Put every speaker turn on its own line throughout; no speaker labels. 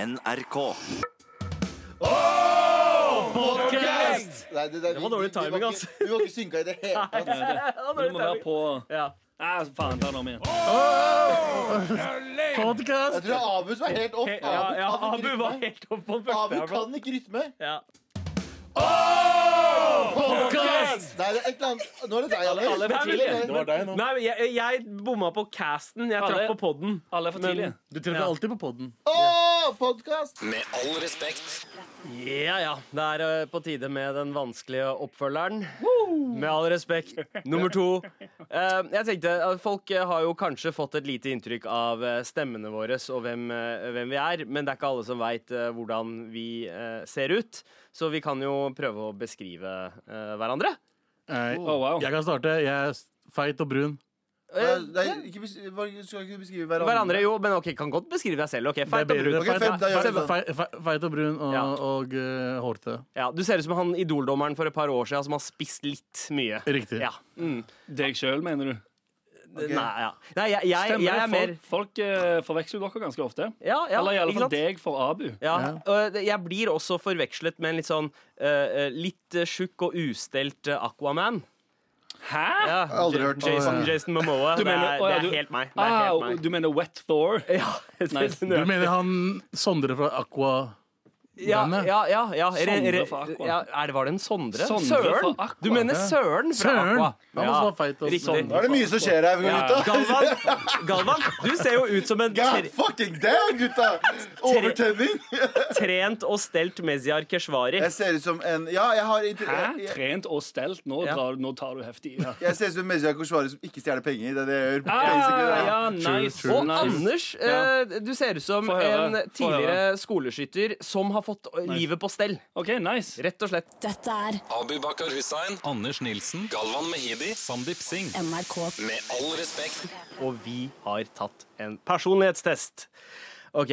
NRK.
Nei, det, der-
Det var dårlig
vi- vi- vi
timing,
var
ass.
ikke- Vi var ikke synka i det hele tatt.
Det må være på
Ja.
Nei, faen, ta den om igjen.
Jeg
Podcast!
tror Abus var helt off.
Ja, ja,
kan
Abu
ikke
var
rytme.
helt oppe på den første.
Abu
her, bro.
kan ikke rytme.
Ja.
Podcast! Nei, det er et eller annet Nå er det deg, Alex.
alle er for tidlig.
Nei,
Det var deg nå.
Nei, men jeg, jeg bomma på casten. Jeg
Alle-
traff på podden.
Mm, Alle er for tidlige.
Men,
Du treffer
Ja.
alltid på podden.
Åh, podcast!
Med all respekt.
ja, ja. Det er eh, på tide med den vanskelige oppfølgeren. Med all respekt. Nummer to. Eh, jeg tenkte at Folk eh, har jo kanskje fått et lite inntrykk av eh, stemmene våre og hvem, eh, hvem vi er, men det er ikke alle som veit hvordan vi eh, ser ut. Så vi kan jo prøve å beskrive eh, hverandre.
Eh,
Oh, wow.
Jeg kan starte. Jeg er s- feit og brun.
Nei,
Eh,
nei, ikke bes- hva- Skal ikke beskrive hverandre.
hverandre, jo, men ok, kan godt beskrive deg selv. Ok,
Det er
feit og
bedre.
brun.
Ok, feit, da gjør vi sånn.
Fei- fei- Feit og brun og,
Ja.
og eh, hårete.
Ja, du ser ut som han idoldommeren for et par år siden som har spist litt mye.
Riktig.
Ja. Mm.
Deg sjøl, mener du?
Nei, ja. Nei, jeg, jeg,
Stemmer
jeg er
det?
mer
Folk, folk eh, forveksler jo dere ganske ofte.
ja, ja,
Eller i alle
ikke sant?
fall deg for Abu.
Ja, og det- jeg blir også forvekslet med en litt sånn eh, eh, litt eh, tjukk og ustelt eh, Aquaman.
Hæ?
Ja,
aldri hørt om.
Jason, Jason Momoa.
Du mener-
det er,
å, ja,
det
du-
er helt meg. Det er
Ah,
helt meg.
du mener Wet Thor?
Ja,
Nice.
Du mener han Sondre fra Aqua
ja, ja, ja, ja. Re,
Sondre
re,
fra Aqua.
ja er det, Var det en Sondre?
Sondre
Søren!
fra Aqua.
Du mener Søren fra
Søren!
Aqua.
Han også var feit og
Riktig.
Sondre.
Nå er det mye som skjer her, gutta.
Galvan, Galvan, du ser jo ut som en
God
tre-
fucking damn, gutta! Overtenning.
trent og stelt Meziar Keshvari.
Jeg ser ut som en Ja, jeg har inter-
Hæ?
jeg-
Trent og stelt? Nå,
Ja.
drar, nå tar du heftig i. Ja.
Jeg ser ut som en Mezia Koshvari som ikke stjeler penger. Det er det jeg gjør. basically,
Ah,
det.
ja, nice.
true,
Og
nice.
Anders,
Ja.
eh, du ser ut som
Få høre,
en
få høre.
tidligere skoleskytter som har fått eh, livet på stell.
OK, nice.
Rett og slett.
Dette er
Abu Bakar Hussein,
Anders Nilsen,
Galvan Mehidi, Sandeep Singh.
NRK.
Med all respekt.
Og vi har tatt en personlighetstest. OK,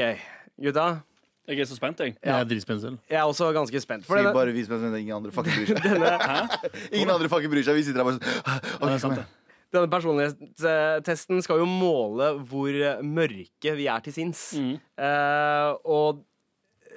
gutta.
Jeg er så spent, jeg.
Jeg er dritspent selv.
Jeg er også ganske spent. For
Fordi
denne,
bare vis meg som ingen andre fucking bryr seg. Ingen andre fucking bryr seg. Vi sitter her bare sånn
Ja, det er sant, det.
denne personlighetstesten skal jo måle hvor mørke vi er til sinns. Eh, og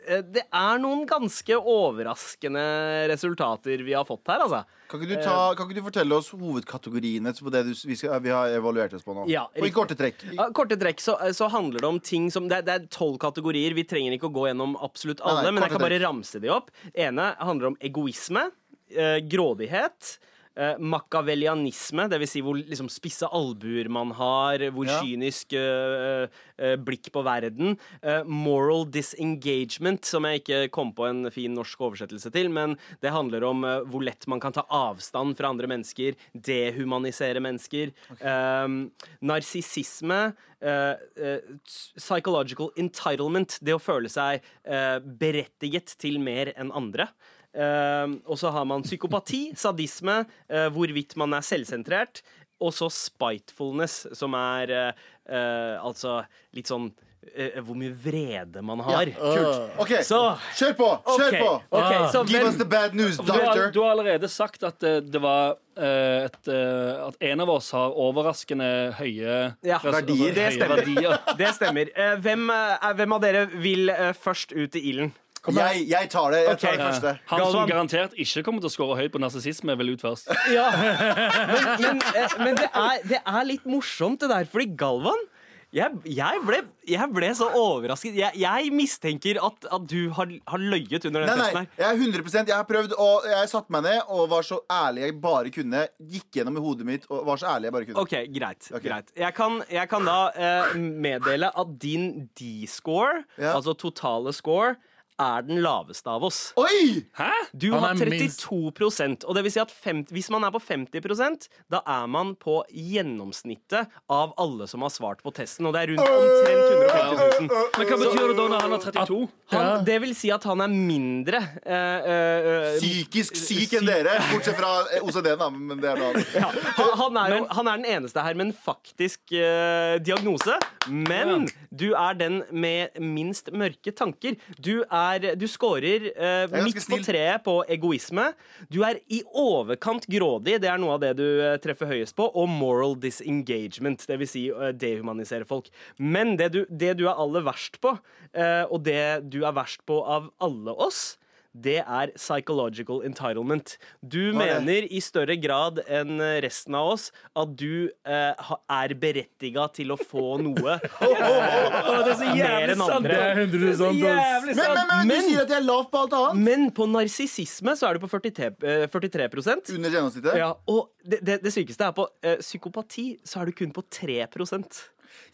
eh, det er noen ganske overraskende resultater vi har fått her, altså.
Kan ikke, du ta, kan ikke du fortelle oss hovedkategoriene på det du, vi, skal, vi har evaluert oss på nå?
Ja,
og i
riktig.
korte trekk.
Ja, korte trekk så, eh, så handler det om ting som Det er- det er tolv kategorier. Vi trenger ikke å gå gjennom absolutt
Nei,
alle,
nei,
men jeg
korte
kan bare
trekk.
ramse de opp. ene handler om egoisme, eh, grådighet. Eh, Makavelianisme, dvs. Si hvor liksom, spisse albuer man har, hvor
Ja.
kynisk eh, eh, blikk på verden. Eh, moral disengagement, som jeg ikke kom på en fin norsk oversettelse til, men det handler om eh, hvor lett man kan ta avstand fra andre mennesker, dehumanisere mennesker. Um, Narsissisme. eh, eh, psychological entitlement, det å føle seg eh, berettiget til mer enn andre. Eh, og så har man psykopati, sadisme, eh, hvorvidt man er selvsentrert. Og så spitefulness, som er eh, eh, altså litt sånn eh, hvor mye vrede man har.
Kult. OK,
Så-
kjør på! øh. Kjør
Ok,
på!
ok, så
Give
hvem-
us the bad news,
Du har,
doctor.
du har allerede sagt at eh, det var eh, et, eh, At en av oss har overraskende høye
Ja.
res- altså,
Verdier.
Det
høye
stemmer.
verdier.
Det stemmer. Eh, hvem, eh, er- hvem av dere vil eh, først ut i ilden?
Jeg, jeg tar det. Jeg tar
Ok.
det første.
Han
Galvan.
som garantert ikke kommer til å score høyt på narsissisme, vil ut først.
Men, eh, men det, er, det er litt morsomt, det der, fordi Galvan jeg, jeg, ble, jeg ble så overrasket. Jeg, jeg mistenker at, at du har, har løyet under den
Nei,
testen
nei,
her.
jeg er 100 Jeg har prøvd, og jeg satte meg ned og var så ærlig jeg bare kunne. Gikk gjennom i hodet mitt og var så ærlig jeg bare kunne.
OK, greit.
Ok.
greit. Jeg, kan, jeg kan da eh, meddele at din D-score,
Ja.
altså totale score, er den laveste av oss.
Oi!
Hæ?
Du
Han
har
er
32 og det vil si at 50, hvis man er på 50 da er man på gjennomsnittet av alle som har svart på testen, og det er rundt omtrent 150 000.
Men hva betyr det da når han har 32?
Han, det vil si at han er mindre eh, eh, eh,
Psykisk syk enn dere, bortsett fra eh, OCD, da. Men det er noe annet.
ja. han, han, er jo, han er den eneste her med en faktisk eh, diagnose, men du er den med minst mørke tanker. Du er er Du scorer eh,
ganske
midt på
snill.
treet på egoisme. Du er i overkant grådig, det er noe av det du eh, treffer høyest på, og moral disengagement, dvs. Si, eh, dehumanisere folk. Men det du, det du er aller verst på, eh, og det du er verst på av alle oss, det er psychological entitlement. Du
Hva er det?
mener i større grad enn eh, resten av oss at du eh, ha- er berettiga til å få noe. eh,
Å, det er så
Mer
jævlig
enn
sant!
andre.
Det er 100%
Det er så jævlig
Men,
sant.
men, men,
Men-
du sier at jeg er lav på alt annet!
Men på narsissisme så er du på 43, eh, 43
Under gjennomsnittet?
ja, Og det, det, det sykeste er på eh, psykopati så er du kun på 3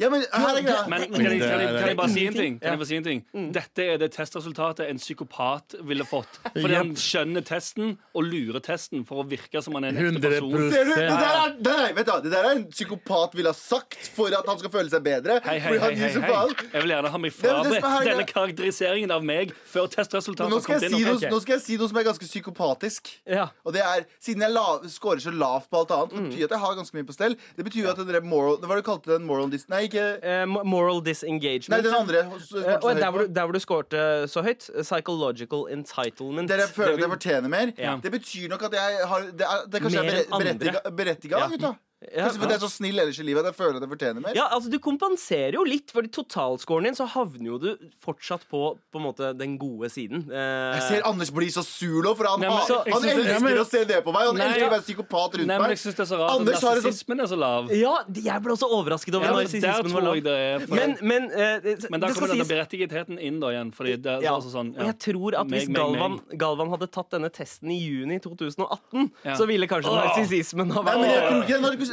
Ja, men her er greia.
Men kan jeg, kan, jeg, kan jeg bare si en ting? Kan
Ja.
jeg bare si en ting? Dette er det testresultatet en psykopat ville fått. Fordi han skjønner testen og lurer testen for å virke som han er en ekte
100
person.
Ser du? Det der, er, det, der, vet du, hva, det der er en psykopat ville ha sagt for at han skal føle seg bedre.
Hei, hei,
Fordi
hei,
han
hei,
gir så
hei.
faen.
Jeg vil gjerne ha meg
er jo det som er
frabedt
her,
denne
det-
karakteriseringen av meg før
Men Nå
testresultatet
skal,
har
jeg si
kommet
noe,
inn.
nå skal jeg si noe som er ganske psykopatisk.
Ja.
Og det er, Siden jeg la, scorer så lavt på alt annet, det betyr at jeg har ganske mye på stell. Det betyr jo at den der moral Hva var det du kalte den? Moral dis... Nei, ikke
Eh, mo- moral
Nei,
disengagement.
den andre. hos-
Eh, og
kanskje
der,
høyt
hvor
på.
du, der hvor du skårte så høyt. eh, Psychological entitlement.
Dere føler at
Det
jeg
vil-
fortjener mer.
Ja.
Det betyr nok at jeg har Det, er, det kanskje
Mer
er
enn andre.
berettiga, berettiga
Ja.
gutta.
Ja.
Kanskje fordi jeg er så snill ellers i livet at jeg føler at jeg fortjener mer.
Ja, altså Du kompenserer jo litt, for i totalscoren din så havner jo du fortsatt på, på en måte, den gode siden. Eh,
Jeg ser Anders bli så sur nå, for han,
Nei, men
har-
så-
han
jeg synes-
elsker
Nei, men-
å se ned på meg. Han
Nei,
elsker
ja.
å være psykopat rundt
Nei, men
meg.
jeg synes det er så rart
Anders
at
har sånn- et sånt-
narsissismen er så lav.
Ja, jeg ble også overrasket over
Ja, men der
narsissismen. var
tror
lav.
jeg det er for-
Men, men, eh, det-
Men der
det skal
kommer denne
sies
berettigetheten inn da igjen. Fordi det er
ja.
også sånn
Og jeg tror at hvis
Meg, meg,
Galvan,
meg.
Galvan hadde tatt denne testen i juni 2018,
Ja.
så ville kanskje
Åh.
narsissismen ha
Nei, men jeg
vært
tror ikke det er narsissisme.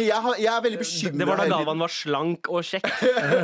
Jeg, har- jeg er veldig bekymra.
Det var da Galvan var slank og kjekk.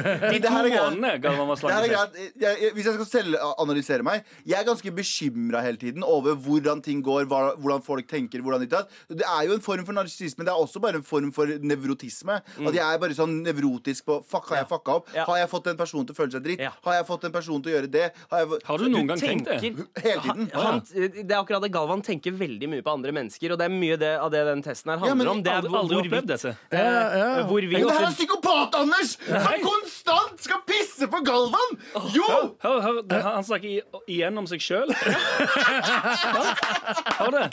De
det
to
her er greit.
månedene Galvan var
Det her er
slank.
greit. Jeg, jeg, hvis jeg skal selvanalysere meg Jeg er ganske bekymra hele tiden over hvordan ting går, hva, hvordan folk tenker. Hvordan ditt og datt. det er jo en form for narsissisme. Det er også bare en form for nevrotisme. At jeg er bare sånn nevrotisk på Fuck, har jeg fucka opp?
Mm. Ja.
Har jeg fått en person til å føle seg dritt?
Ja.
Har jeg fått en person til å gjøre det? Har jeg... fått-
Har du noen gang tenkt det?
tenker-
Hele tiden.
Han, det er akkurat det Galvan tenker veldig mye på andre mennesker, og det er mye det, av det den testen her handler
men
om. Det er Eh,
Aldri, aldri opplevd dette.
Ja, ja.
hvorvidt
Men det her er psykopat, Anders! Som konstant skal pisse på Galvan! Jo!
Hør, hør, det, han han snakker i- igjen om seg sjøl. Hør det.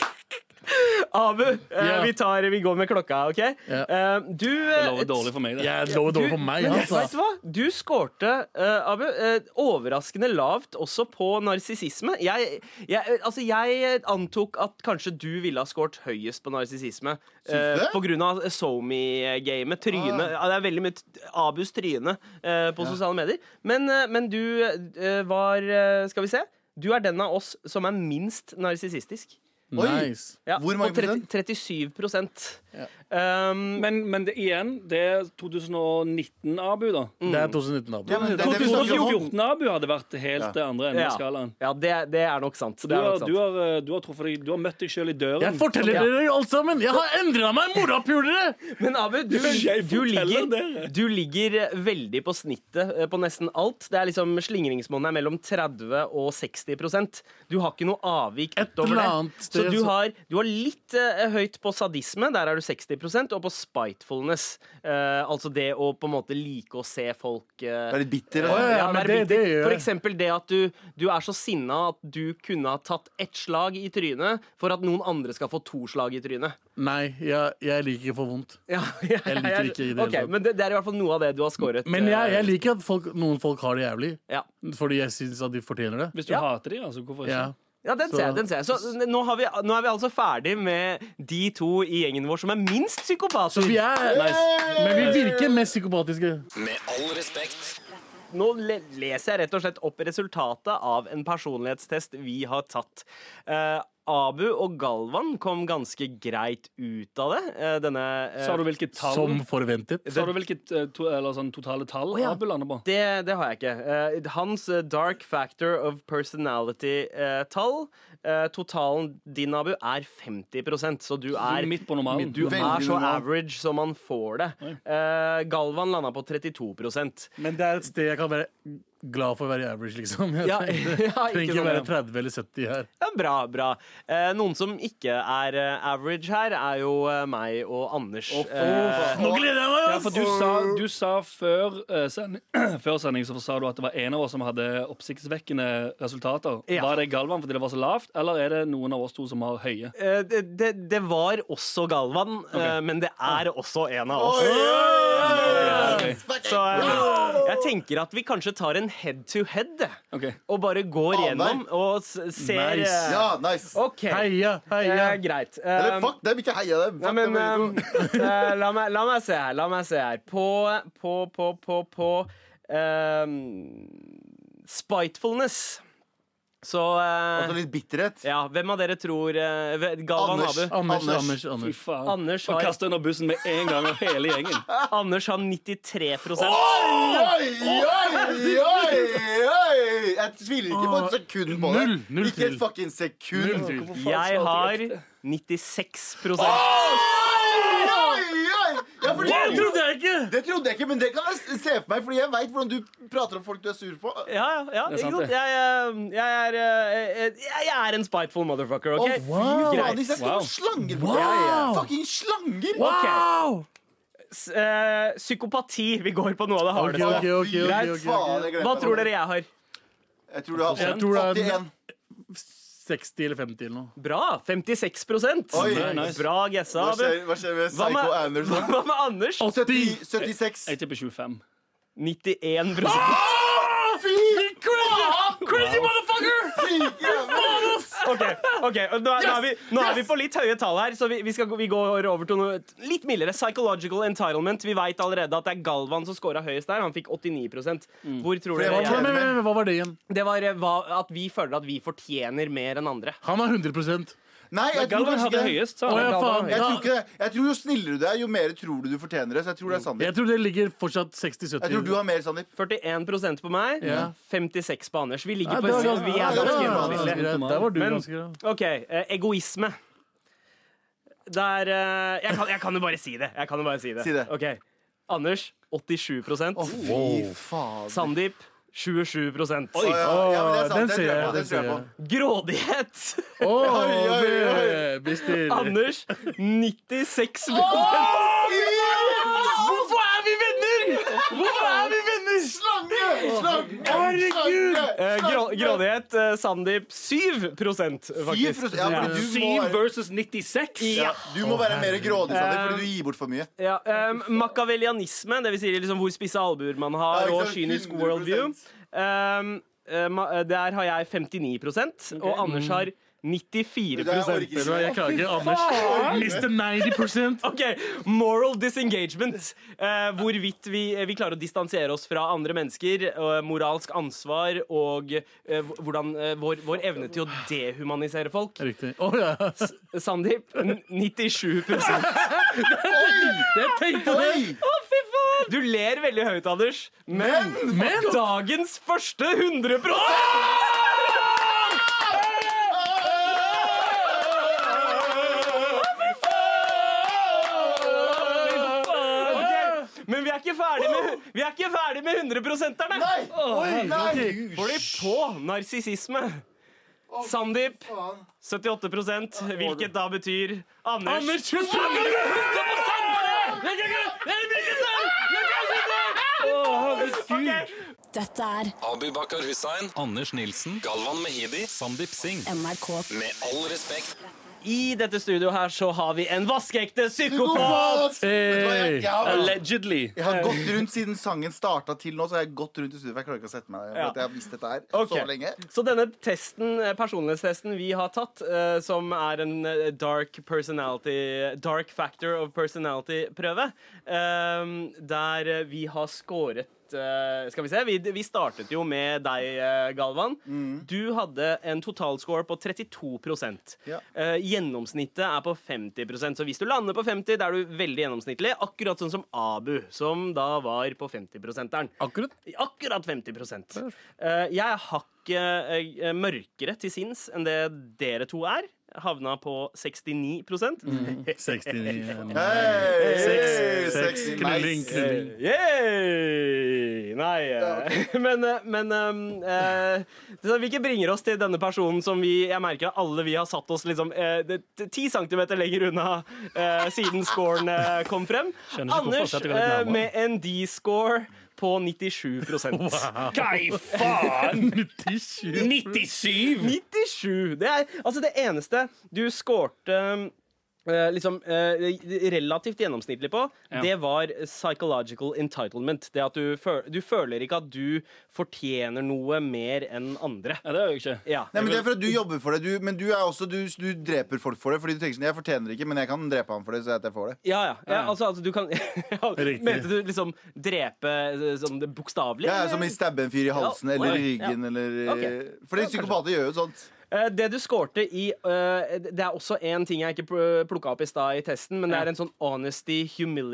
Abu, eh,
Ja.
vi, tar, vi går med klokka, OK?
Ja.
Eh, du
Det lover dårlig for meg, det.
Jeg lover dårlig for meg.
men
Altså.
vet du hva? Du skårte, eh, Abu, eh, overraskende lavt også på narsissisme. Jeg, jeg, eh, altså, jeg antok at kanskje du ville ha skårt høyest på narsissisme.
Syns du Ah.
eh,
det?
på grunn av SoMe-gamet. Tryne. Ja, Det er veldig mye t- Abus tryne eh, på sosiale medier. Men, eh, men du eh, var eh, Skal vi se. Du er den av oss som er minst narsissistisk.
Oi.
Nice.
Ja,
Hvor mange
på 30,
prosent?
37 prosent. Um,
Men, men det, igjen, det er 2019-Abu, da.
Det er 2019,
Ja,
da.
men det er det vi snakker om.
2014-Abu hadde vært helt det andre enden
ja,
av skalaen.
ja det, det er nok sant.
Du
Det er
har,
nok sant.
du, har, eh, du, har truffet deg, du har møtt deg sjøl i døren.
Jeg forteller
Ja.
dere alt sammen! Jeg har endra meg, morapulere!
Men Abu, du,
Jeg
du,
forteller
ligger,
dere.
du ligger eh, veldig på snittet eh, på nesten alt. Det er liksom Slingringsmonnet er mellom 30 og 60 Du har ikke noe avvik
Et
utover
eller
det.
annet
Så
sted
du
så-
har, du har litt eh, høyt på sadisme, der er du 60 og på spitefulness. eh, altså det å på en måte like å se folk eh,
Du er litt bitter.
Å,
Altså.
ja,
ja,
men
være
det, det
bitter.
gjør
For
jeg.
eksempel det at du, du er så sinna at du kunne ha tatt ett slag i trynet for at noen andre skal få to slag i trynet.
Nei, jeg, jeg liker ikke å få vondt.
Ja, jeg,
liker ikke i det hele
Ok,
tatt.
Men det, det er i hvert fall noe av det du har scoret.
Men jeg,
eh,
jeg liker at folk, noen folk har det jævlig,
ja.
fordi jeg syns at de fortjener det.
Hvis du
Ja.
hater dem, altså, hvorfor ikke?
Ja.
ja, den
Så-
ser jeg. den ser jeg Så n- nå, har vi, nå er vi altså ferdig med de to i gjengen vår som er minst
Så
psykopater.
vi er
Nice.
Men vi virker mest psykopatiske.
Med all respekt.
Nå le leser jeg rett og slett opp resultatet av en personlighetstest vi har tatt. Eh, Abu og Galvan kom ganske greit ut av det. Eh, denne eh,
Sa du hvilket tall?
Som forventet.
Sa du hvilket eh, to, eller sånn, totale tall
ja.
Abu lander på?
det, det har jeg ikke. Eh, hans eh, dark factor of personality-tall, eh, totalen din, Abu, er 50 så du
Du
er
er Sånn midt på normalen.
Du er
Veldig
så
normal.
average som man får det. Eh, Galvan landa på 32
Men det er et sted jeg kan være glad for å være average, liksom. Jeg
Ja,
tenkte,
ja, ikke
trenger ikke
noe
være
problem.
30 eller 70 her.
Ja, bra, bra. Eh, noen som ikke er eh, average her, er jo eh, meg og Anders. Eh,
Nå
gleder jeg meg!
Ja, for du sa, du sa før, eh, sending, før sending så sa du at det var en av oss som hadde oppsiktsvekkende resultater.
Ja.
Var det Galvan fordi det var så lavt, eller er det noen av oss to som har høye?
eh, det, det, det var også Galvan, eh, men det er også en av oss. Eh, Så eh, jeg tenker at vi kanskje tar en head to head eh,
Ok.
og bare går
Aner.
gjennom og s- ser
Nice.
eh,
Ja, nice.
OK.
Heia, heia.
Eh, greit.
Eller
Eh,
fuck dem, ikke heia dem.
Nei,
Fuck
men
dem.
ehm, eh, la, meg, la meg se her. La meg se her. På, på, på, på, på ehm, Spitefulness. Så eh,
Også Altså, litt bitterhet.
Ja, hvem av dere tror eh, ve- Galvan
Anders.
Habe.
Anders,
Anders.
Anders,
Fy
Anders.
faen.
Anders
Og
har-
kaste under bussen med en gang av hele gjengen.
Anders har 93
Oi, oi, oi, oi! Jeg tviler ikke på et sekund på det.
Null, null
Ikke et
tvil.
fucking sekund.
Null tvil.
Hvorfor faen
Jeg
svarte
har
jeg ikke?
96
Oi, oi, oi! Ja, fordi,
Det trodde jeg ikke!
det trodde jeg ikke, men det kan jeg s- se for meg, fordi jeg veit hvordan du prater om folk du er sur på.
Ja, ja. ja
Det er sant,
ikke sant?
det.
Jeg, eh, jeg, er, eh, eh, jeg er en spiteful motherfucker,
Å,
OK?
fy faen,
Greit.
de snakker
Wow.
om slanger!
Wow.
Ja, ja. Fucking slanger!
Ok. S- eh, psykopati. Vi går på noe av det
Ok,
hardeste.
ok, ok, ok,
Greit.
ok,
Faen, jeg
ok.
glemte
Hva
det.
tror dere jeg har?
Jeg tror du har
Jeg tror det er-
81.
60 eller 50 eller noe.
Bra! 56
Oi.
Nice.
Bra gessa.
Hva
Abu.
skjer, hva skjer med
Hva
Psycho
med,
Anderson?
hva med Anders?
70,
80!
76.
Jeg tipper 25.
91
Ah,
Fy faen!
Crazy motherfucker!
Ok, ok, og nå er, nå er, vi, nå er vi på litt høye tall her, så vi, vi, skal, gå- vi går over til noe litt mildere. Psychological entitlement. Vi veit allerede at det er Galvan som scora høyest der. Han fikk 89 Hvor tror
For jeg var
Men,
dere
men, men, men, hva var det igjen?
Det var eh, hva- at vi føler at vi fortjener mer enn andre.
Han er 100
Nei, jeg tror
Galvan
kanskje
hadde
ikke det.
høyest, sa
Å,
han.
ja, faen.
Jeg tror
Da,
ikke det. Jeg tror jo snillere du er, jo mer tror du du fortjener det. Så jeg tror det er Sandeep.
jeg tror det ligger fortsatt 60-70.
Jeg tror du har mer, Sandeep.
41 på meg,
Ja.
56 på Anders. Vi ligger
Ja,
på
det var ganske-
Vi
ja,
er
det var
ganske
ganske
gjennomsnittlige.
greit. Der var du
Men-
ganske greit.
OK. eh, egoisme. Der eh, jeg, kan, jeg kan jo bare si det. Jeg kan jo bare si det.
Si det.
Ok. Anders 87
Å, fy faen.
Sandeep 27
Å, ja, ja, men det er sant.
Den
Det
ser
tror jeg
jeg,
på. Det tror
den
jeg
ser
på.
Grådighet!
jeg. Å,
Oi, oi, oi.
det blir stille.
Anders 96
Hvorfor er vi venner?! Hvorfor er vi venner?!
Slange! Slange!
Herregud!
Eh, grå,
Slange!
Grådighet eh, Sandeep 7 faktisk.
7%, ja, fordi du, må
7
være,
versus 96.
ja, du må være mer grådig, Sandeep, fordi du gir bort for mye.
Ja, um, Makavelianisme, dvs. Si liksom hvor spisse albuer man har,
Ja, ikke
og
sant?
kynisk
100%.
worldview. Um, eh, ma- der har jeg 59 og Anders har 94
Mm. Det er orker
Vet du hva,
ikke.
jeg klager. Anders Mr. 90
Ok, Moral disengagement. Eh, hvorvidt vi, eh, vi klarer å distansiere oss fra andre mennesker. eh, moralsk ansvar og eh, hvordan, eh, vår, vår evne til å dehumanisere folk.
Riktig. Å, ja.
Sandeep, n- 97
Jeg tenkte det!
Oi!
Du ler veldig høyt, Anders, men,
Men,
men dagens første 100 Ok, Men vi er ikke ferdig med, vi er ikke ferdig med 100%-erne.
Nei! Oi, nei!
Får de på narsissisme? Sandeep
Faen.
78 hvilket da betyr Anders.
Anders, slutt å prate!
Ok,
Dette er
Abu Bakar Hussein,
Anders Nilsen,
Galvan Mehidi,
Sandeep Singh.
NRK.
med all respekt.
I dette studioet her så har vi en vaskeekte psykopat.
Psykopat! Vet du hva, jeg- jeg har-
Allegedly.
Jeg har gått rundt siden sangen starta til nå, så jeg har gått rundt i studio. for Jeg klarer ikke å sette meg ned. for
Ja.
at Jeg har visst dette her
Ok.
så lenge.
Så denne testen, eh, personlighetstesten vi har tatt, eh, som er en eh, dark personality Dark factor of personality-prøve, eh, der eh, vi har scoret eh, Skal vi se, vi, vi startet jo med deg, eh, Galvan.
Mm.
Du hadde en totalscore på 32
Ja.
Eh, Gjennomsnittet er på 50 så hvis du lander på 50, da er du veldig gjennomsnittlig. Akkurat sånn som Abu, som da var på 50-prosenteren.
Akkurat.
Akkurat 50 Eh, Jeg er hakket eh, mørkere til sinns enn det dere to er. Havna på 69
Mm.
69.
Hey, sex,
Sex, sex, knulling,
nice.
knulling.
Yay! nei. eh, Men, eh, men eh, eh, så Hvilket bringer oss til denne personen som vi Jeg merker at alle vi har satt oss liksom eh, det- t- ti centimeter lenger unna eh, siden scoren eh, kom frem.
Skjønner ikke hvorfor,
Anders
setter vi litt
eh,
nærmere.
med en D-score på 97
Hva i faen?
97.
97!
97! Det er altså det eneste du skårte eh, liksom eh, relativt gjennomsnittlig på,
Ja.
det var psychological entitlement. Det at du, føl du føler ikke at du fortjener noe mer enn andre.
Ja, det er jo ikke.
Ja.
Nei, men Det er for at du jobber for det, du, men du er også, du, du dreper folk for det. Fordi du tenker sånn, jeg fortjener det ikke, men jeg kan drepe ham for det. Så at jeg får det
Ja, ja. ja altså, altså, du kan
Riktig.
Mente du liksom drepe eh, sånn det bokstavelig?
Jeg er
eller?
som i stabbe en fyr i halsen
Ja,
eller i
oi,
ryggen.
ja.
Eller, eh,
Ok.
Fordi psykopater gjør jo sånt.
Eh, Det du skårte i eh, Det er også en ting jeg ikke plukka opp i stad i testen, men det
Ja.
er en sånn honesty,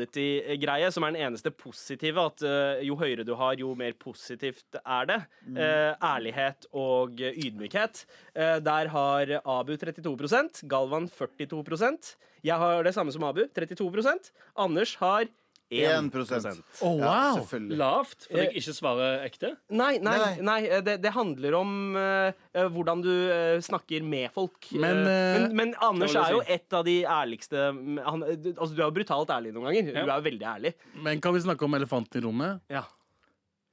humility-greie, som er den eneste positive. At eh, jo høyere du har, jo mer positivt er det. Eh, Ærlighet og eh, ydmykhet. Eh, Der har Abu 32 Galvan 42 Jeg har det samme som Abu, 32 Anders har
1
1
Oh,
Ja,
wow.
selvfølgelig.
Lavt, fordi jeg ikke svarer ekte.
Nei, nei,
Nei.
nei. eh, det, det handler om eh, eh, hvordan du eh, snakker med folk. Eh,
Men, eh,
men, men Anders
hva
er jo
vil du
et av de ærligste mm, han, du- Altså, Du er jo brutalt ærlig noen ganger. Du er jo veldig ærlig.
Men kan vi snakke om elefanten i rommet?
Ja.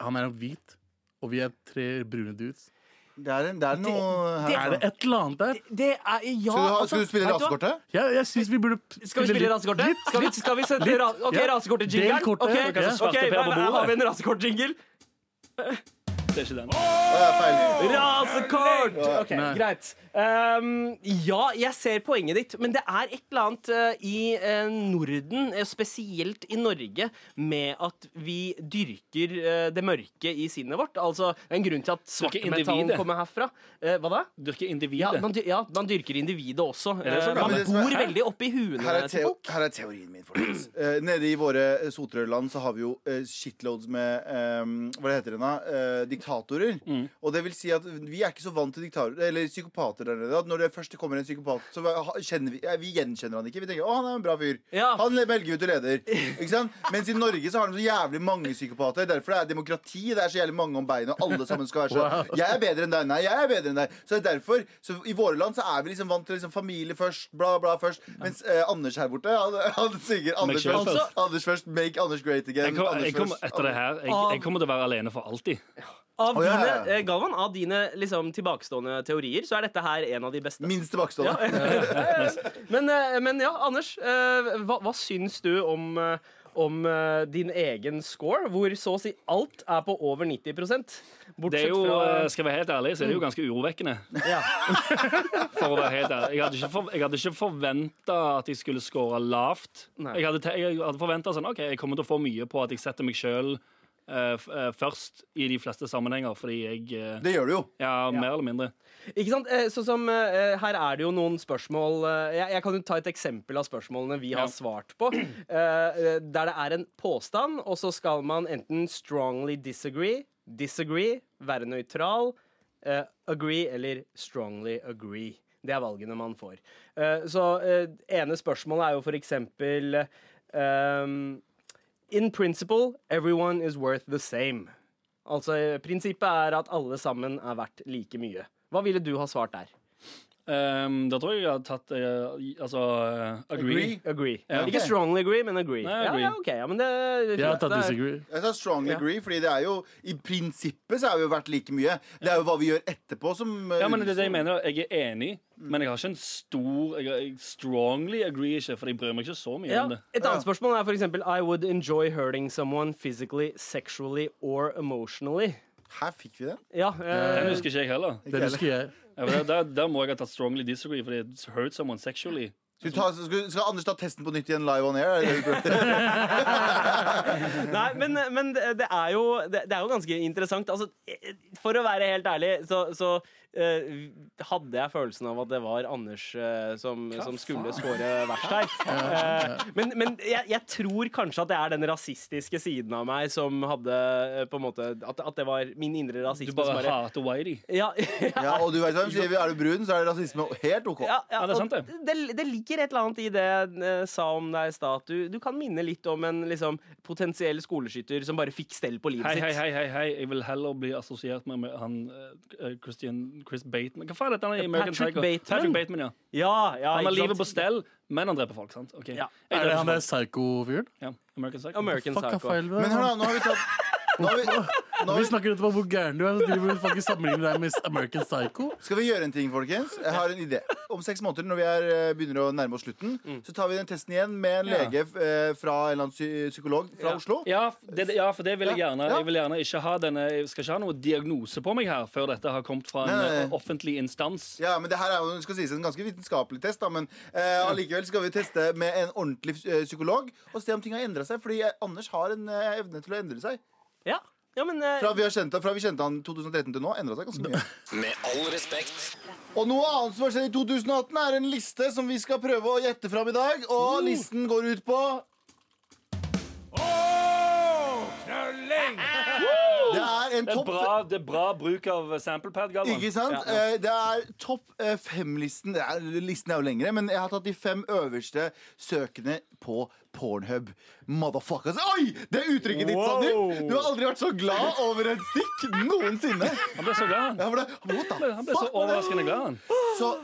Han er hvit, og vi er tre brune dudes.
Det er, det er noe her.
Er det et eller annet der?
Det er ja
Skal du, ha,
altså,
skal du spille
vet hva?
rasekortet?
Jeg, jeg syns vi
Skal
burde
vi spille rasekortet? Skal vi, skal vi sette ra OK,
ja. Del
rasekortet-jingelen.
kortet,
Ok,
ok.
ok,
Svarte per på
men her har
bordet.
vi en rasekort-jingle.
Det er ikke den.
Det er feil.
Rasekort! Ok,
Nei.
Greit. Ehm, ja, jeg ser poenget ditt, men det er et eller annet eh, i eh, Norden, eh, spesielt i Norge, med at vi dyrker eh, det mørke i sinnet vårt. Altså, det er en grunn til at svartmetallen
individet.
kommer herfra. Eh, hva da?
Dyrke
Ja
individet.
man, dy- ja, man dyrker individet også.
det
Eh,
så bra?
Men
man
det som er-
bor
Hæ?
veldig oppi huene
Her er,
til
teo
folk.
her er teorien min, folkens. Eh, nede i våre sotrørland så har vi jo eh, shitloads med eh, Hva det heter det da? Eh, diktatorer.
Mm.
Og det vil si at vi er ikke så vant til diktatorer Eller psykopater der nede. At når det først kommer en psykopat, så ha- kjenner vi, eh, vi gjenkjenner han ikke. Vi tenker 'Å, han er en bra fyr'.
Ja.
Han velger ut og leder. Ikke sant? Mens i Norge så har de så jævlig mange psykopater. Derfor det er demokrati. Det er så jævlig mange om beinet, og alle sammen skal være sånn. Jeg er bedre enn deg. Nei, jeg er bedre enn deg. Så derfor, så i våre land så er vi liksom vant til liksom familie først, bla, bla først. Mens eh, Anders her borte, han, han synger Anders
sure
først.
first.
Anders først, make Anders great again.
Jeg kommer,
Anders
jeg kommer
først.
etter det her. Jeg, jeg kommer til å være alene for alltid.
Av
Å, ja,
dine,
ja, ja.
eh, Galvan, av dine liksom, tilbakestående teorier, så er dette her en av de beste.
Minst tilbakestående.
Men, eh, men ja, Anders, eh, hva, hva syns du om, eh, om eh, din egen score, hvor så å si alt er på over 90 Bortsett
Det er jo,
fra
eh, Skal jeg være helt ærlig, så er det jo ganske urovekkende.
ja.
For å være helt ærlig Jeg hadde ikke, for, jeg hadde ikke forventa at jeg skulle score lavt.
Nei.
Jeg hadde, te- jeg hadde forventa sånn, ok, jeg kommer til å få mye på at jeg setter meg sjøl eh, først i de fleste sammenhenger, fordi jeg eh,
Det gjør du jo.
Ja, mer eller mindre.
Ikke sant? Eh, Sånn som eh, Her er det jo noen spørsmål eh, jeg, jeg kan jo ta et eksempel av spørsmålene vi har svart på. eh, eh, Der det er en påstand, og så skal man enten strongly disagree, disagree, være nøytral, eh, agree eller strongly agree. Det er valgene man får. Eh, Så eh, ene spørsmålet er jo for eksempel eh, In principle, everyone is worth the same. Altså, eh, Prinsippet er at alle sammen er verdt like mye. Hva ville du ha svart der?
Ehm, da tror jeg jeg har tatt eh, i- altså eh, agree.
Agree.
Agree.
Ja.
Ikke strongly agree, men agree.
Nei,
ja,
agree.
ja, ok, ja, men det, det er
Jeg har
fint.
tatt
Det er-
disagree.
Jeg sa strongly agree, fordi det er jo I prinsippet så er vi jo verdt like mye. Det er jo hva vi gjør etterpå som eh,
Ja, men det er det Jeg mener da. Jeg er enig, men jeg har ikke en stor Jeg, jeg strongly agree ikke, for jeg bryr meg ikke så mye
Ja.
om det.
Et annet spørsmål er for eksempel I would enjoy hurting someone physically, sexually or emotionally.
Her fikk vi den.
Ja,
Den
eh,
husker ikke jeg heller.
Det husker jeg.
Ja, for der, der, der må jeg ha tatt strongly disagree, fordi it hurt someone sexually.
Skal, vi ta, skal, skal Anders ta testen på nytt igjen live on air? Eller?
Nei, men, men det det er, jo, det, det er jo ganske interessant. Altså, eh, for å være helt ærlig, så, så eh, hadde jeg følelsen av at det var Anders eh, som, som skulle score verst her. Eh, men men jeg, jeg tror kanskje at det er den rasistiske siden av meg som hadde eh, på en måte At, at det var min indre
Du
rasisme
bare
som
hater whitey.
ja,
Ja, og du vet hva de sier, er du brun, så er det rasisme helt OK.
Ja, ja,
Ja, det er
og
sant det.
Det, det ligger stikker et eller annet i det jeg eh, sa om deg i stad. at Du, du kan minne litt om en liksom, potensiell skoleskytter som bare fikk stell på livet
Hei, hei,
sitt.
hei, hei, hei. Jeg vil heller bli assosiert med, med han eh, Christian Chris Bateman. Hva faen heter han i American
Patrick
Psycho?
Bateman?
Patrick Bateman, ja.
Ja, ja,
Han har
ikke sant?
livet på stell, men han dreper folk, sant? Ok.
Ja.
Jeg
Er det
dreper
han der
folk.
psycho-fyren?
Ja. American Psycho.
American
Fuck, hva
Psycho.
feil med
Men
det?
hør da, nå har vi tatt nå har vi, nå har
Vi
vi,
snakker nettopp om hvor gæren du er, så driver du faktisk sammenligner deg med American Psycho.
Skal vi gjøre en ting, folkens? Jeg har en idé. Om seks måneder, når vi er, eh, begynner å nærme oss slutten, så tar vi den testen igjen med en
Mm. Ja.
lege eh, fra en eller annen psy- psykolog fra Oslo.
Ja, f- det, ja, for det vil jeg
Ja,
gjerne.
ja.
Jeg vil gjerne ikke ha denne, jeg skal ikke ha noe diagnose på meg her før dette har kommet fra en
Nei, nei,
eh,
nei.
offentlig instans.
Ja, men det her er jo det skal sies en ganske vitenskapelig test, da, men eh, allikevel skal vi teste med en ordentlig eh, psykolog og se om ting har endra seg. Fordi eh, Anders har en eh, evne til å endre seg.
Ja. ja, men eh,
Fra vi, har kjent, fra vi kjente han 2013 til nå, endra seg ganske mye.
Med all respekt.
Og noe annet som har skjedd i 2018, er en liste som vi skal prøve å gjette fram i dag. Og listen går ut på Det er en
Det er
topp
bra, det er bra bruk av samplepad, Galvan.
Ikke sant? Eh, Det er topp eh, fem-listen. Det er- Listen er jo lengre, men jeg har tatt de fem øverste søkene på Pornhub. Motherfuckers. Oi! Det er uttrykket ditt, Sandeep. Du har aldri vært så glad over et stikk noensinne.
Han ble så glad.
Ja, for det, what the
Han ble så
fuck var det?
overraskende glad. han.
Så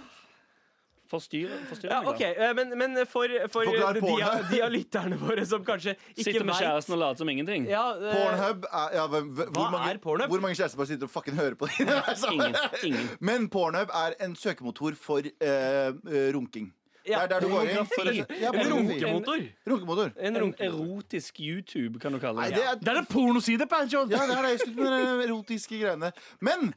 Forstyrre, forstyrre
ja,
meg, da.
ok, eh, men, men for, for
Forklar
eh, de,
porno.
av- de av lytterne våre som kanskje ikke
Sitter med
vet
kjæresten og later som ingenting.
ja, eh,
Pornhub er, ja, hvem- hvem- hvor
Hva
mange,
er Pornhub?
Hvor mange kjærestepar sitter og fucking hører på det? Det er sånn.
Ingen, ingen.
Men Pornhub er en søkemotor for eh, eh, runking.
Ja,
Det er der du går inn.
runking.
Ja,
En
pornografi.
runkemotor.
Runkemotor.
En
En
runke.
erotisk YouTube, kan du kalle
Nei,
det.
det er
Det er en pornoside, Pancho!
Ja, det er det. Slutt med de erotiske greiene. Men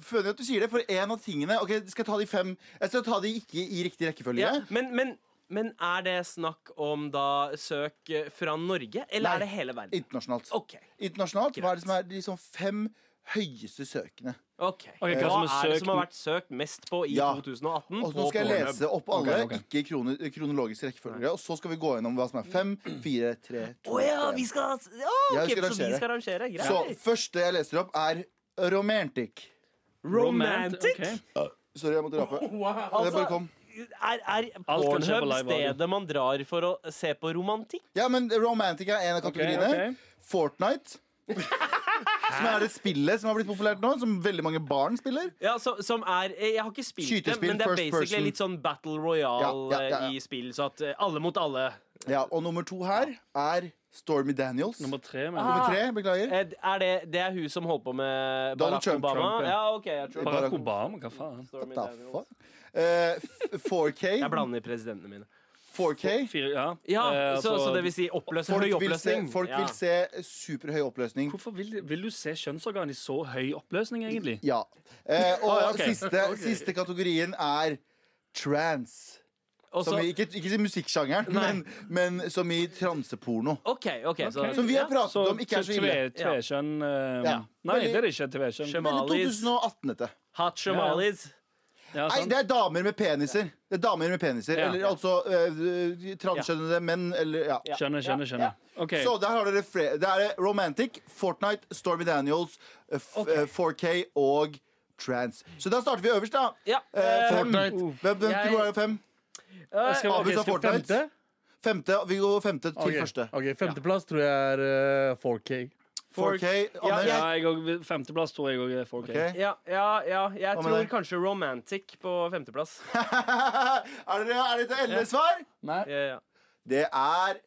føler jeg at du sier det, for en av tingene Ok, skal jeg ta de fem Jeg skal ta de ikke i riktig rekkefølge.
Ja, men, men, men er det snakk om da søk eh, fra Norge, eller
Nei.
er det hele verden?
Internasjonalt.
OK.
Internasjonalt, Hva er det som er de sånn fem høyeste søkene?
ok
Ok, hva
Hva
som er
er det
søkt-
som har vært søkt mest på i
Ja.
2018?
Og
på
Nå skal jeg
Pornhub?
lese opp alle,
Ok, ok.
ikke i krone, kronologisk rekkefølge. Og så skal vi gå gjennom hva som er fem, fire, tre, to
Mm. Å ja,
en.
vi skal Å,
Ja,
ok,
vi skal
Så vi
rangere.
skal arrangere?
Så
Greit.
første jeg leser opp, er romantic.
Romantic?
Ok.
Sorry, jeg måtte rape.
altså.
Det bare kom.
Er, er
Alt kan skje på
Pornhub
live radio.
stedet man drar for å se på romantikk?
Ja, men romantic er en av kategoriene.
ok.
Fortnite. som er det spillet som har blitt populært nå, som veldig mange barn spiller.
Ja, så, som er eh, Jeg har ikke spilt det,
Skytespill,
men det er
first
basically
person.
litt sånn Battle Royale
Ja, ja, ja, ja.
eh, i spill, så at eh, alle mot alle
Ja, Og nummer to her er Stormy Daniels.
Nummer
Nummer
tre, men
tre, beklager.
Eh, Er det, det er hun som holdt på med
Donald
Barack
Trump,
Obama?
Trump, ja.
ja. ok, jeg tror
Barack Obama, hva faen?
Stormy
Da
Daniels.
faen. Eh, f- 4K.
Jeg blander presidentene mine.
4K.
Fire, ja.
Ja,
Eh,
så,
altså,
så det vil si oppløs,
Folk
høy
vil se,
oppløsning?
folk
ja.
vil se superhøy oppløsning.
Hvorfor vil, vil du se kjønnsorgan i så høy oppløsning, egentlig?
Ja. Eh, og
Ah, ok.
siste, siste kategorien er trans.
Og
Som
så-
i, ikke, ikke i musikksjangeren, men, men som i transeporno.
OK, ok. Så,
Ok.
Som vi har
ja.
pratet om, ikke er så ille.
tve- Tvekjønn eh,
Ja.
Nei,
Veldig-
det er det ikke. Tvekjønn.
Skjønn.
Men i
Malis.
2018, dette.
Hot shamalis.
Ja,
Nei,
sant.
det er damer med peniser. Det er damer med peniser
Sånn. Ja.
Eller altså eh, transkjønnede menn, eller ja.
Skjønner, skjønner, skjønner. Ok,
Så der har dere fre Det er Romantic, Fortnite, Stormy Daniels, eh, f- eh, 4K og Trans. Så da starter vi øverst, da.
Ja.
Eh, fem.
Fortnite.
Hvem, hvem
Jeg-
tror du er fem?
Jeg skal-
Abu
ok,
sa
skal-
Fortnite.
Femte?
Femte. Vi går femte til
Ok,
første.
ok, Femteplass tror jeg er eh, 4K.
4K. Anders.
Ja, jeg og- femteplass tror jeg òg er 4K.
Ok.
Ja, ja, ja. Jeg
Hva med
tror
deg?
kanskje romantic på femteplass.
er dere er dette endelige svar?
Ja, ja.
Det er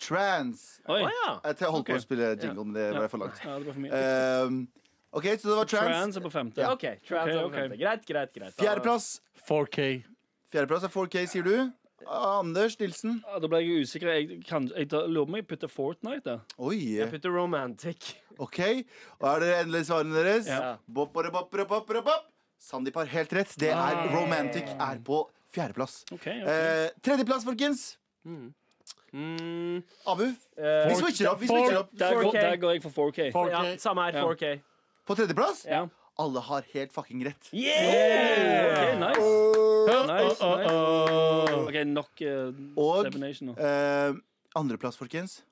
trans.
Oi.
Å ja.
Jeg holdt på
Ok.
å spille jingle, men det ble for langt.
Ja, det var for mye.
Ehm, OK, så det var trans.
Trans er på femte.
Ja.
OK. Trans
Ok,
er på
ok.
femte. Greit, greit, greit. Da-
Fjerdeplass.
4K.
Fjerdeplass er 4K, sier du. Anders Nilsen.
Ja, da ble jeg usikker. Jeg, kan, jeg da- lurer på om jeg putter Fortnite der.
Oi.
Jeg putter romantic.
OK. Og er det endelig svarene deres?
Ja.
Bop, bada, bop, bada, bop, bada, bop. Sandeep har helt rett. Det er
Nei.
Romantic er på fjerdeplass.
Ok, ok.
Eh, tredjeplass, folkens.
Mm,
Abu.
eh,
Vi switcher opp. vi switcher opp
der, går,
4K.
der går jeg for 4K.
ja,
4K.
samme her.
Ja.
4K.
På tredjeplass?
Ja.
Alle har helt fucking rett.
OK, nice.
Oh,
nice, nice. OK, nok uh,
Og
Seven Nation nå.
eh, andreplass, folkens.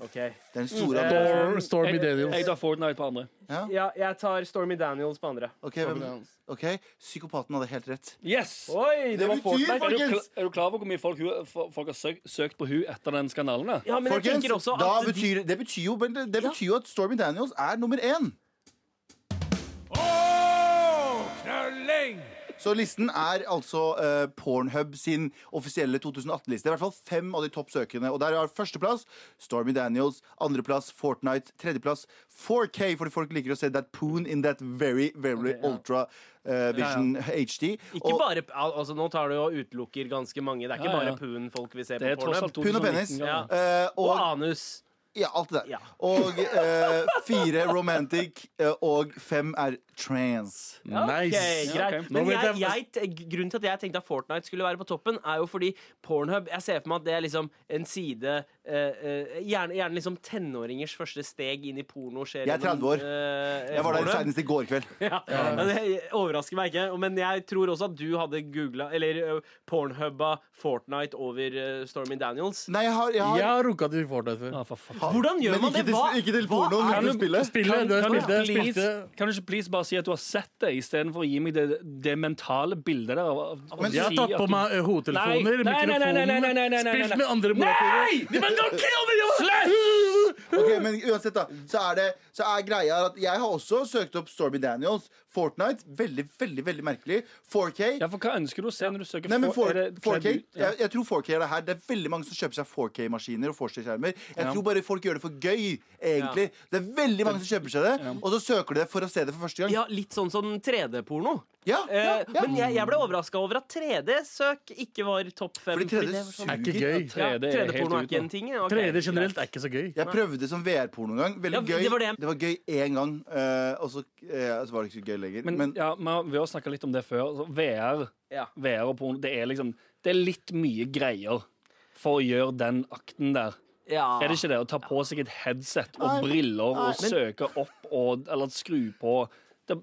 Ok.
Den store
Mm.
andre.
Storm, Stormy
Jeg
Daniels.
tar Fortnite på andre.
Ja, jeg tar Stormy Daniels på andre.
Ok, hvem, ok, psykopaten hadde helt rett.
Yes!
Oi, det,
Det
var
betyr
Fortnite.
Er du, kla-
Folkens!
er du klar over hvor mye folk, hun- fo- folk har søk, søkt på hun etter den skandalen? da?
Ja, men jeg
Folkens,
tenker også
da
at de,
betyr, det, betyr jo, men det, det betyr jo at Stormy Daniels er nummer én. Så listen er altså eh, Pornhub sin offisielle 2018-liste. I hvert fall fem av de topp søkende. Og der har førsteplass Stormy Daniels, andreplass Fortnite, tredjeplass 4K, fordi folk liker å se that poon in that very, very ultra eh, vision HD.
ikke bare al- altså, Nå tar du og utelukker ganske mange. Det er ikke
Ja, ja.
bare puen folk vil se
Det er
på
tross alt
porno.
Pun og penis.
2019 gammel.
eh,
Og
og
anus.
Ja, alt det der.
Ja.
Og eh, fire romantic, eh, og fem er trans.
Nice.
Ok, greit.
Ja, ok.
Nå
Men
vet
jeg, jeg,
jeg-
grunnen til at jeg tenkte at Fortnite skulle være på toppen, er jo fordi Pornhub Jeg ser for meg at det er liksom en side eh, eh, Gjerne, gjerne liksom tenåringers første steg inn i porno skjer
Jeg er 30 år.
eh,
Jeg var der
Pornhub.
senest i går kveld.
Ja. Ja, det overrasker meg ikke, men jeg tror også at du hadde googla Eller ø, pornhubba Fortnite over ø, Stormy Daniels.
Nei, jeg har, jeg har
Jeg har runka til Fortnite før.
Ah, for faen.
Hvordan gjør
Men
man
ikke
det?
til,
Hva?
ikke til
hva
pornoen,
er-
men til spillet.
Spille,
Kan,
du har
kan,
spilt det.
du
Spilte
please, kan du ikke please bare si at du har sett det, istedenfor å gi meg det, det mentale bildet der? Av, av, av,
Men
Jeg har
si
tatt
at
på
du-
meg ø, hodetelefoner,
Nei, nei, nei, nei, nei, nei, nei, nei, nei,
mikrofonen,
nei.
spilt med andre
Nei!
morapulere.
Men don't kill me, you're slash!
Ok, men uansett, da. Så er, det, så er greia at jeg har også søkt opp Stormy Daniels. Fortnite. Veldig, veldig veldig merkelig. 4K.
Ja, for hva ønsker du å se når du søker
Nei, men
for-
for,
er det
4K,
kledd ut? Ja.
jeg, jeg tror 4K er det her. Det er veldig mange som kjøper seg 4K-maskiner og 4K-skjermer. Jeg tror bare folk gjør det for gøy, egentlig. Det er veldig mange som kjøper seg det, og så søker de det for å se det for første gang.
Ja, litt sånn som 3D-porno.
Ja,
Eh,
ja, ja.
Men jeg, jeg ble overraska over at 3D-søk ikke var topp fem.
Fordi 3D
det var sånn-
suger.
Er ikke gøy.
Ja,
3D er
porno er
helt ute
ikke
nå.
en ting. ja, ok.
3D generelt er ikke så gøy.
Jeg prøvde som VR-porno en gang. Veldig
Ja,
gøy.
det var det.
gøy én gang, eh, og så, eh, så var det ikke så gøy lenger.
Men,
Men,
ja, men vi har snakka litt om det før. altså, VR,
Ja.
VR og porno, det er liksom Det er litt mye greier for å gjøre den akten der.
Ja.
Er det ikke det? Å ta på seg et headset og
Nei,
briller
nei.
og søke opp og Eller skru på. Det,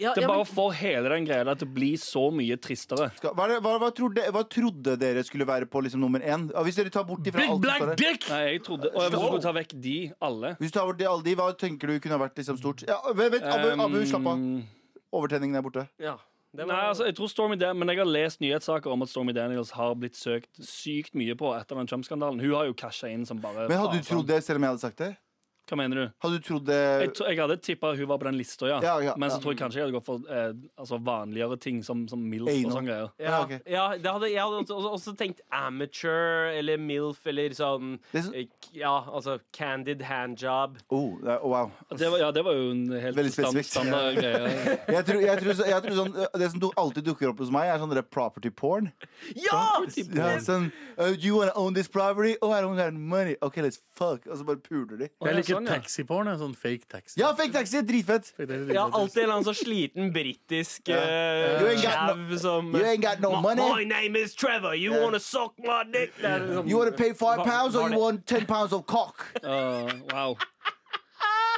Ja,
det
ja,
bare
men-
får hele den greia der til å bli så mye tristere.
skal, hva, er det- hva, hva, trodde, hva trodde dere skulle være på liksom, nummer én? Ja, Hvis dere tar bort de fra
Big
alt som står
black
der.
dick!
Nei, jeg trodde Og jeg skulle ta vekk de alle.
Hvis du tar bort de, alle de, hva tenker du kunne ha vært liksom, stort? Ja, vent, vent, Abu,
Um,
Abu, slapp av. Overtenningen er borte.
ja, det var-
Nei, altså, jeg tror Stormy Dan Men jeg har lest nyhetssaker om at Stormy Daniels har blitt søkt sykt mye på etter den Trump-skandalen. Hun har jo casha inn som bare
Men hadde du
faen.
trodd det selv om jeg hadde sagt det?
Hva mener du?
Hadde du trodd
Jeg,
det?
tro- jeg hadde tippa hun var på den lista, ja.
Ja, ja,
Men så
ja.
tror jeg kanskje jeg hadde gått for eh, altså vanligere ting, som, som MILF
Anal.
og sånne greier.
ja,
Ja, ok.
ja, det hadde, jeg hadde også, også, også tenkt amateur eller MILF eller sånn
Det er så-
eh, k- Ja, altså candid handjob.
Oh, det er- wow.
Det var, ja, det var jo en helt
Veldig
stand,
spesifikt.
standard greie.
Jeg tror, jeg tror, så- jeg tror sånn, eh, det som du- alltid dukker opp hos meg, er sånn der property porn.
Ja!
Ja, sånn, uh, you wanna own this property? Oh, I don't got money. Okay, let's fuck. Og så bare puler de.
Jeg
Å, ja,
liker
sånn, ja.
taxiporn. en Sånn fake taxi.
Ja, fake taxi! Dritfett.
Fake taxi,
Ja,
fake taxi.
alltid en eller annen sånn sliten britisk
You
uh,
ain't got no-
som
You ain't got no
My
money.
name is Trevor, you
Ja.
wanna suck my dick? Det er liksom-
You wanna pay five pounds or
var
you
det-
want ten pounds of cock?
Uh, wow.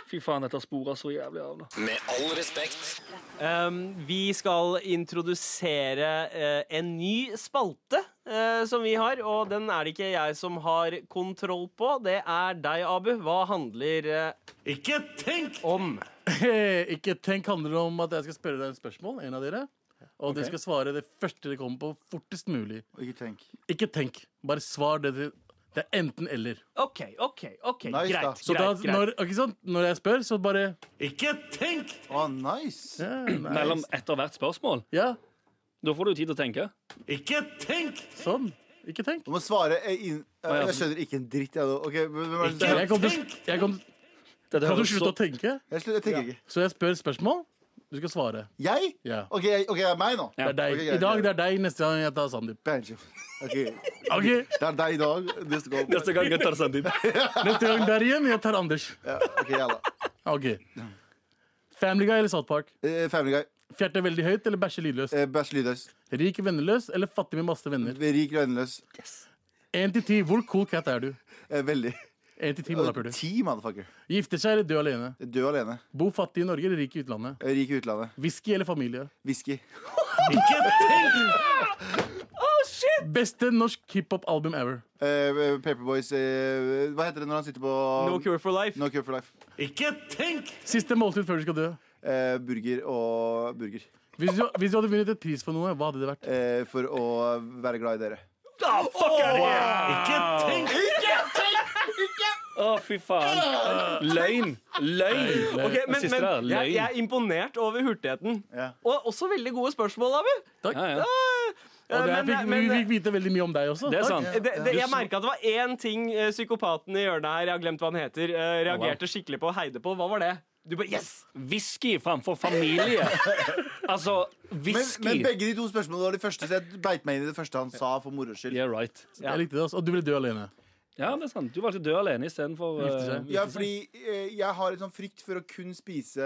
Fy faen, dette sporer så jævlig av nå.
Med all respekt.
Um, vi skal introdusere eh, en ny spalte eh, som vi har, og den er det ikke jeg som har kontroll på. Det er deg, Abu. Hva handler
Ikke tenk!
eh, om?
Hey, Ikke tenk handler det om at jeg skal spørre deg et spørsmål, en av dere. Og dere skal svare det første dere kommer på, fortest mulig.
Ikke tenk.
Ikke tenk. Bare svar det dere Det er enten-eller.
OK, OK, ok,
Nice,
greit.
da.
greit,
Så da,
greit.
når, ikke sant? når jeg spør, så bare
Ikke tenk!
Å, nice.
ja, nei.
Mellom etter hvert spørsmål.
ja,
Da får du jo tid til å tenke.
Ikke tenk!
sånn. Ikke tenk.
Du må svare eh, inn
ja.
eh, Jeg skjønner ikke en dritt, jeg. da. Ok, hvem er det som-
Jeg kom til, jeg kom,
Dette
kan
høres
du
så-
slutte å tenke?
Jeg skjønner- jeg tenker ikke.
Så jeg spør spørsmål. Du skal svare.
Jeg?
Ja.
OK, jeg- ok, det er meg nå?
Det er deg.
Ok, greit,
I dag
greit.
det er deg, neste gang jeg tar Sandeep.
Banjo. Ok,
Ok,
Det er deg i dag. Neste gang.
Neste gang jeg tar Sandeep.
Neste gang der igjen, jeg tar Anders.
Ja, ok, jævla.
Ok Family Guy eller South Park?
Eh, Family Guy.
Fjerte veldig høyt eller bæsje lydløst?
Eh, Bæsj lydløs.
Rik venneløs eller fattig med masse venner?
Rik og endeløs.
En til ti, hvor cool cat er du?
Eh, Veldig.
En til ti
Og
morapuler.
Ti, motherfucker.
Gifte seg eller dø alene?
Dø alene.
Bo fattig i Norge eller rik i utlandet?
Eh, Rik i utlandet.
Whisky eller familie?
Whisky.
Ikke tenk!
Å,
shit!
Beste norsk hiphop-album ever.
Eh, Paperboys eh, Hva heter det når han sitter på
No Cure for Life.
No Cure for Life.
Ikke tenk!
Siste måltid før du skal dø.
Eh, burger og burger.
Hvis du, hvis du hadde vunnet et pris for noe, hva hadde det vært?
Eh, for å være glad i dere.
Ikke tenk!
Å, fy faen. Løgn. Løgn.
Ok,
Den
men,
siste
men
der, løgn.
jeg, jeg er imponert over hurtigheten.
Ja.
Og også veldig gode spørsmål, Abu.
Ja,
Eh,
ja.
Og det er,
men-
fikk,
men-
vi fikk vite veldig mye om deg også.
Det er
Takk.
sant.
det, det, jeg merka at det var én ting eh, psykopaten i hjørnet her, jeg har glemt hva han heter, eh, reagerte skikkelig på og heide på. Hva var det? Du bare yes!
Whisky framfor familie. Altså,
Men,
whisky.
men begge de to spørsmålene var de første, så jeg beit meg inn i det første han sa, for moro skyld.
Yeah, right.
Jeg likte det også. Og du ville dø alene.
Ja, det er sant. Du valgte å dø alene istedenfor
Gifte seg.
Ja, fordi eh, jeg har en sånn frykt for å kun spise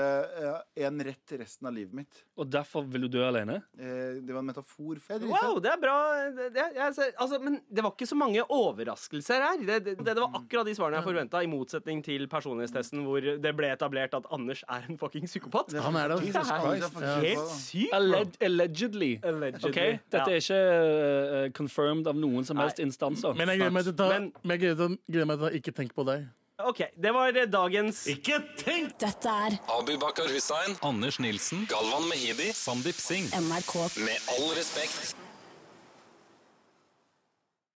én rett resten av livet mitt.
Og derfor vil du dø alene?
Eh, det var en metafor. Jeg driter.
Wow, det er bra. Det, det, jeg, ser- altså, men det var ikke så mange overraskelser her. Det, det, det var akkurat de svarene jeg forventa, i motsetning til personlighetstesten hvor det ble etablert at Anders er en fucking psykopat.
Han er det.
Det
altså.
er
Christ.
Helt sykt.
Alleg allegedly.
Allegedly.
Ok?
Ja.
Dette er ikke eh, confirmed av noen som helst
Nei.
instanser.
Men jeg gleder meg til å ta,
Men-
men jeg gleder til å- gleder meg til å ikke tenke på deg.
OK, det var eh, dagens
Ikke tenk!
Dette er
Abu Bakar Hussein,
Anders Nilsen,
Galvan Mehidi
Sandeep Singh.
NRK.
Med all respekt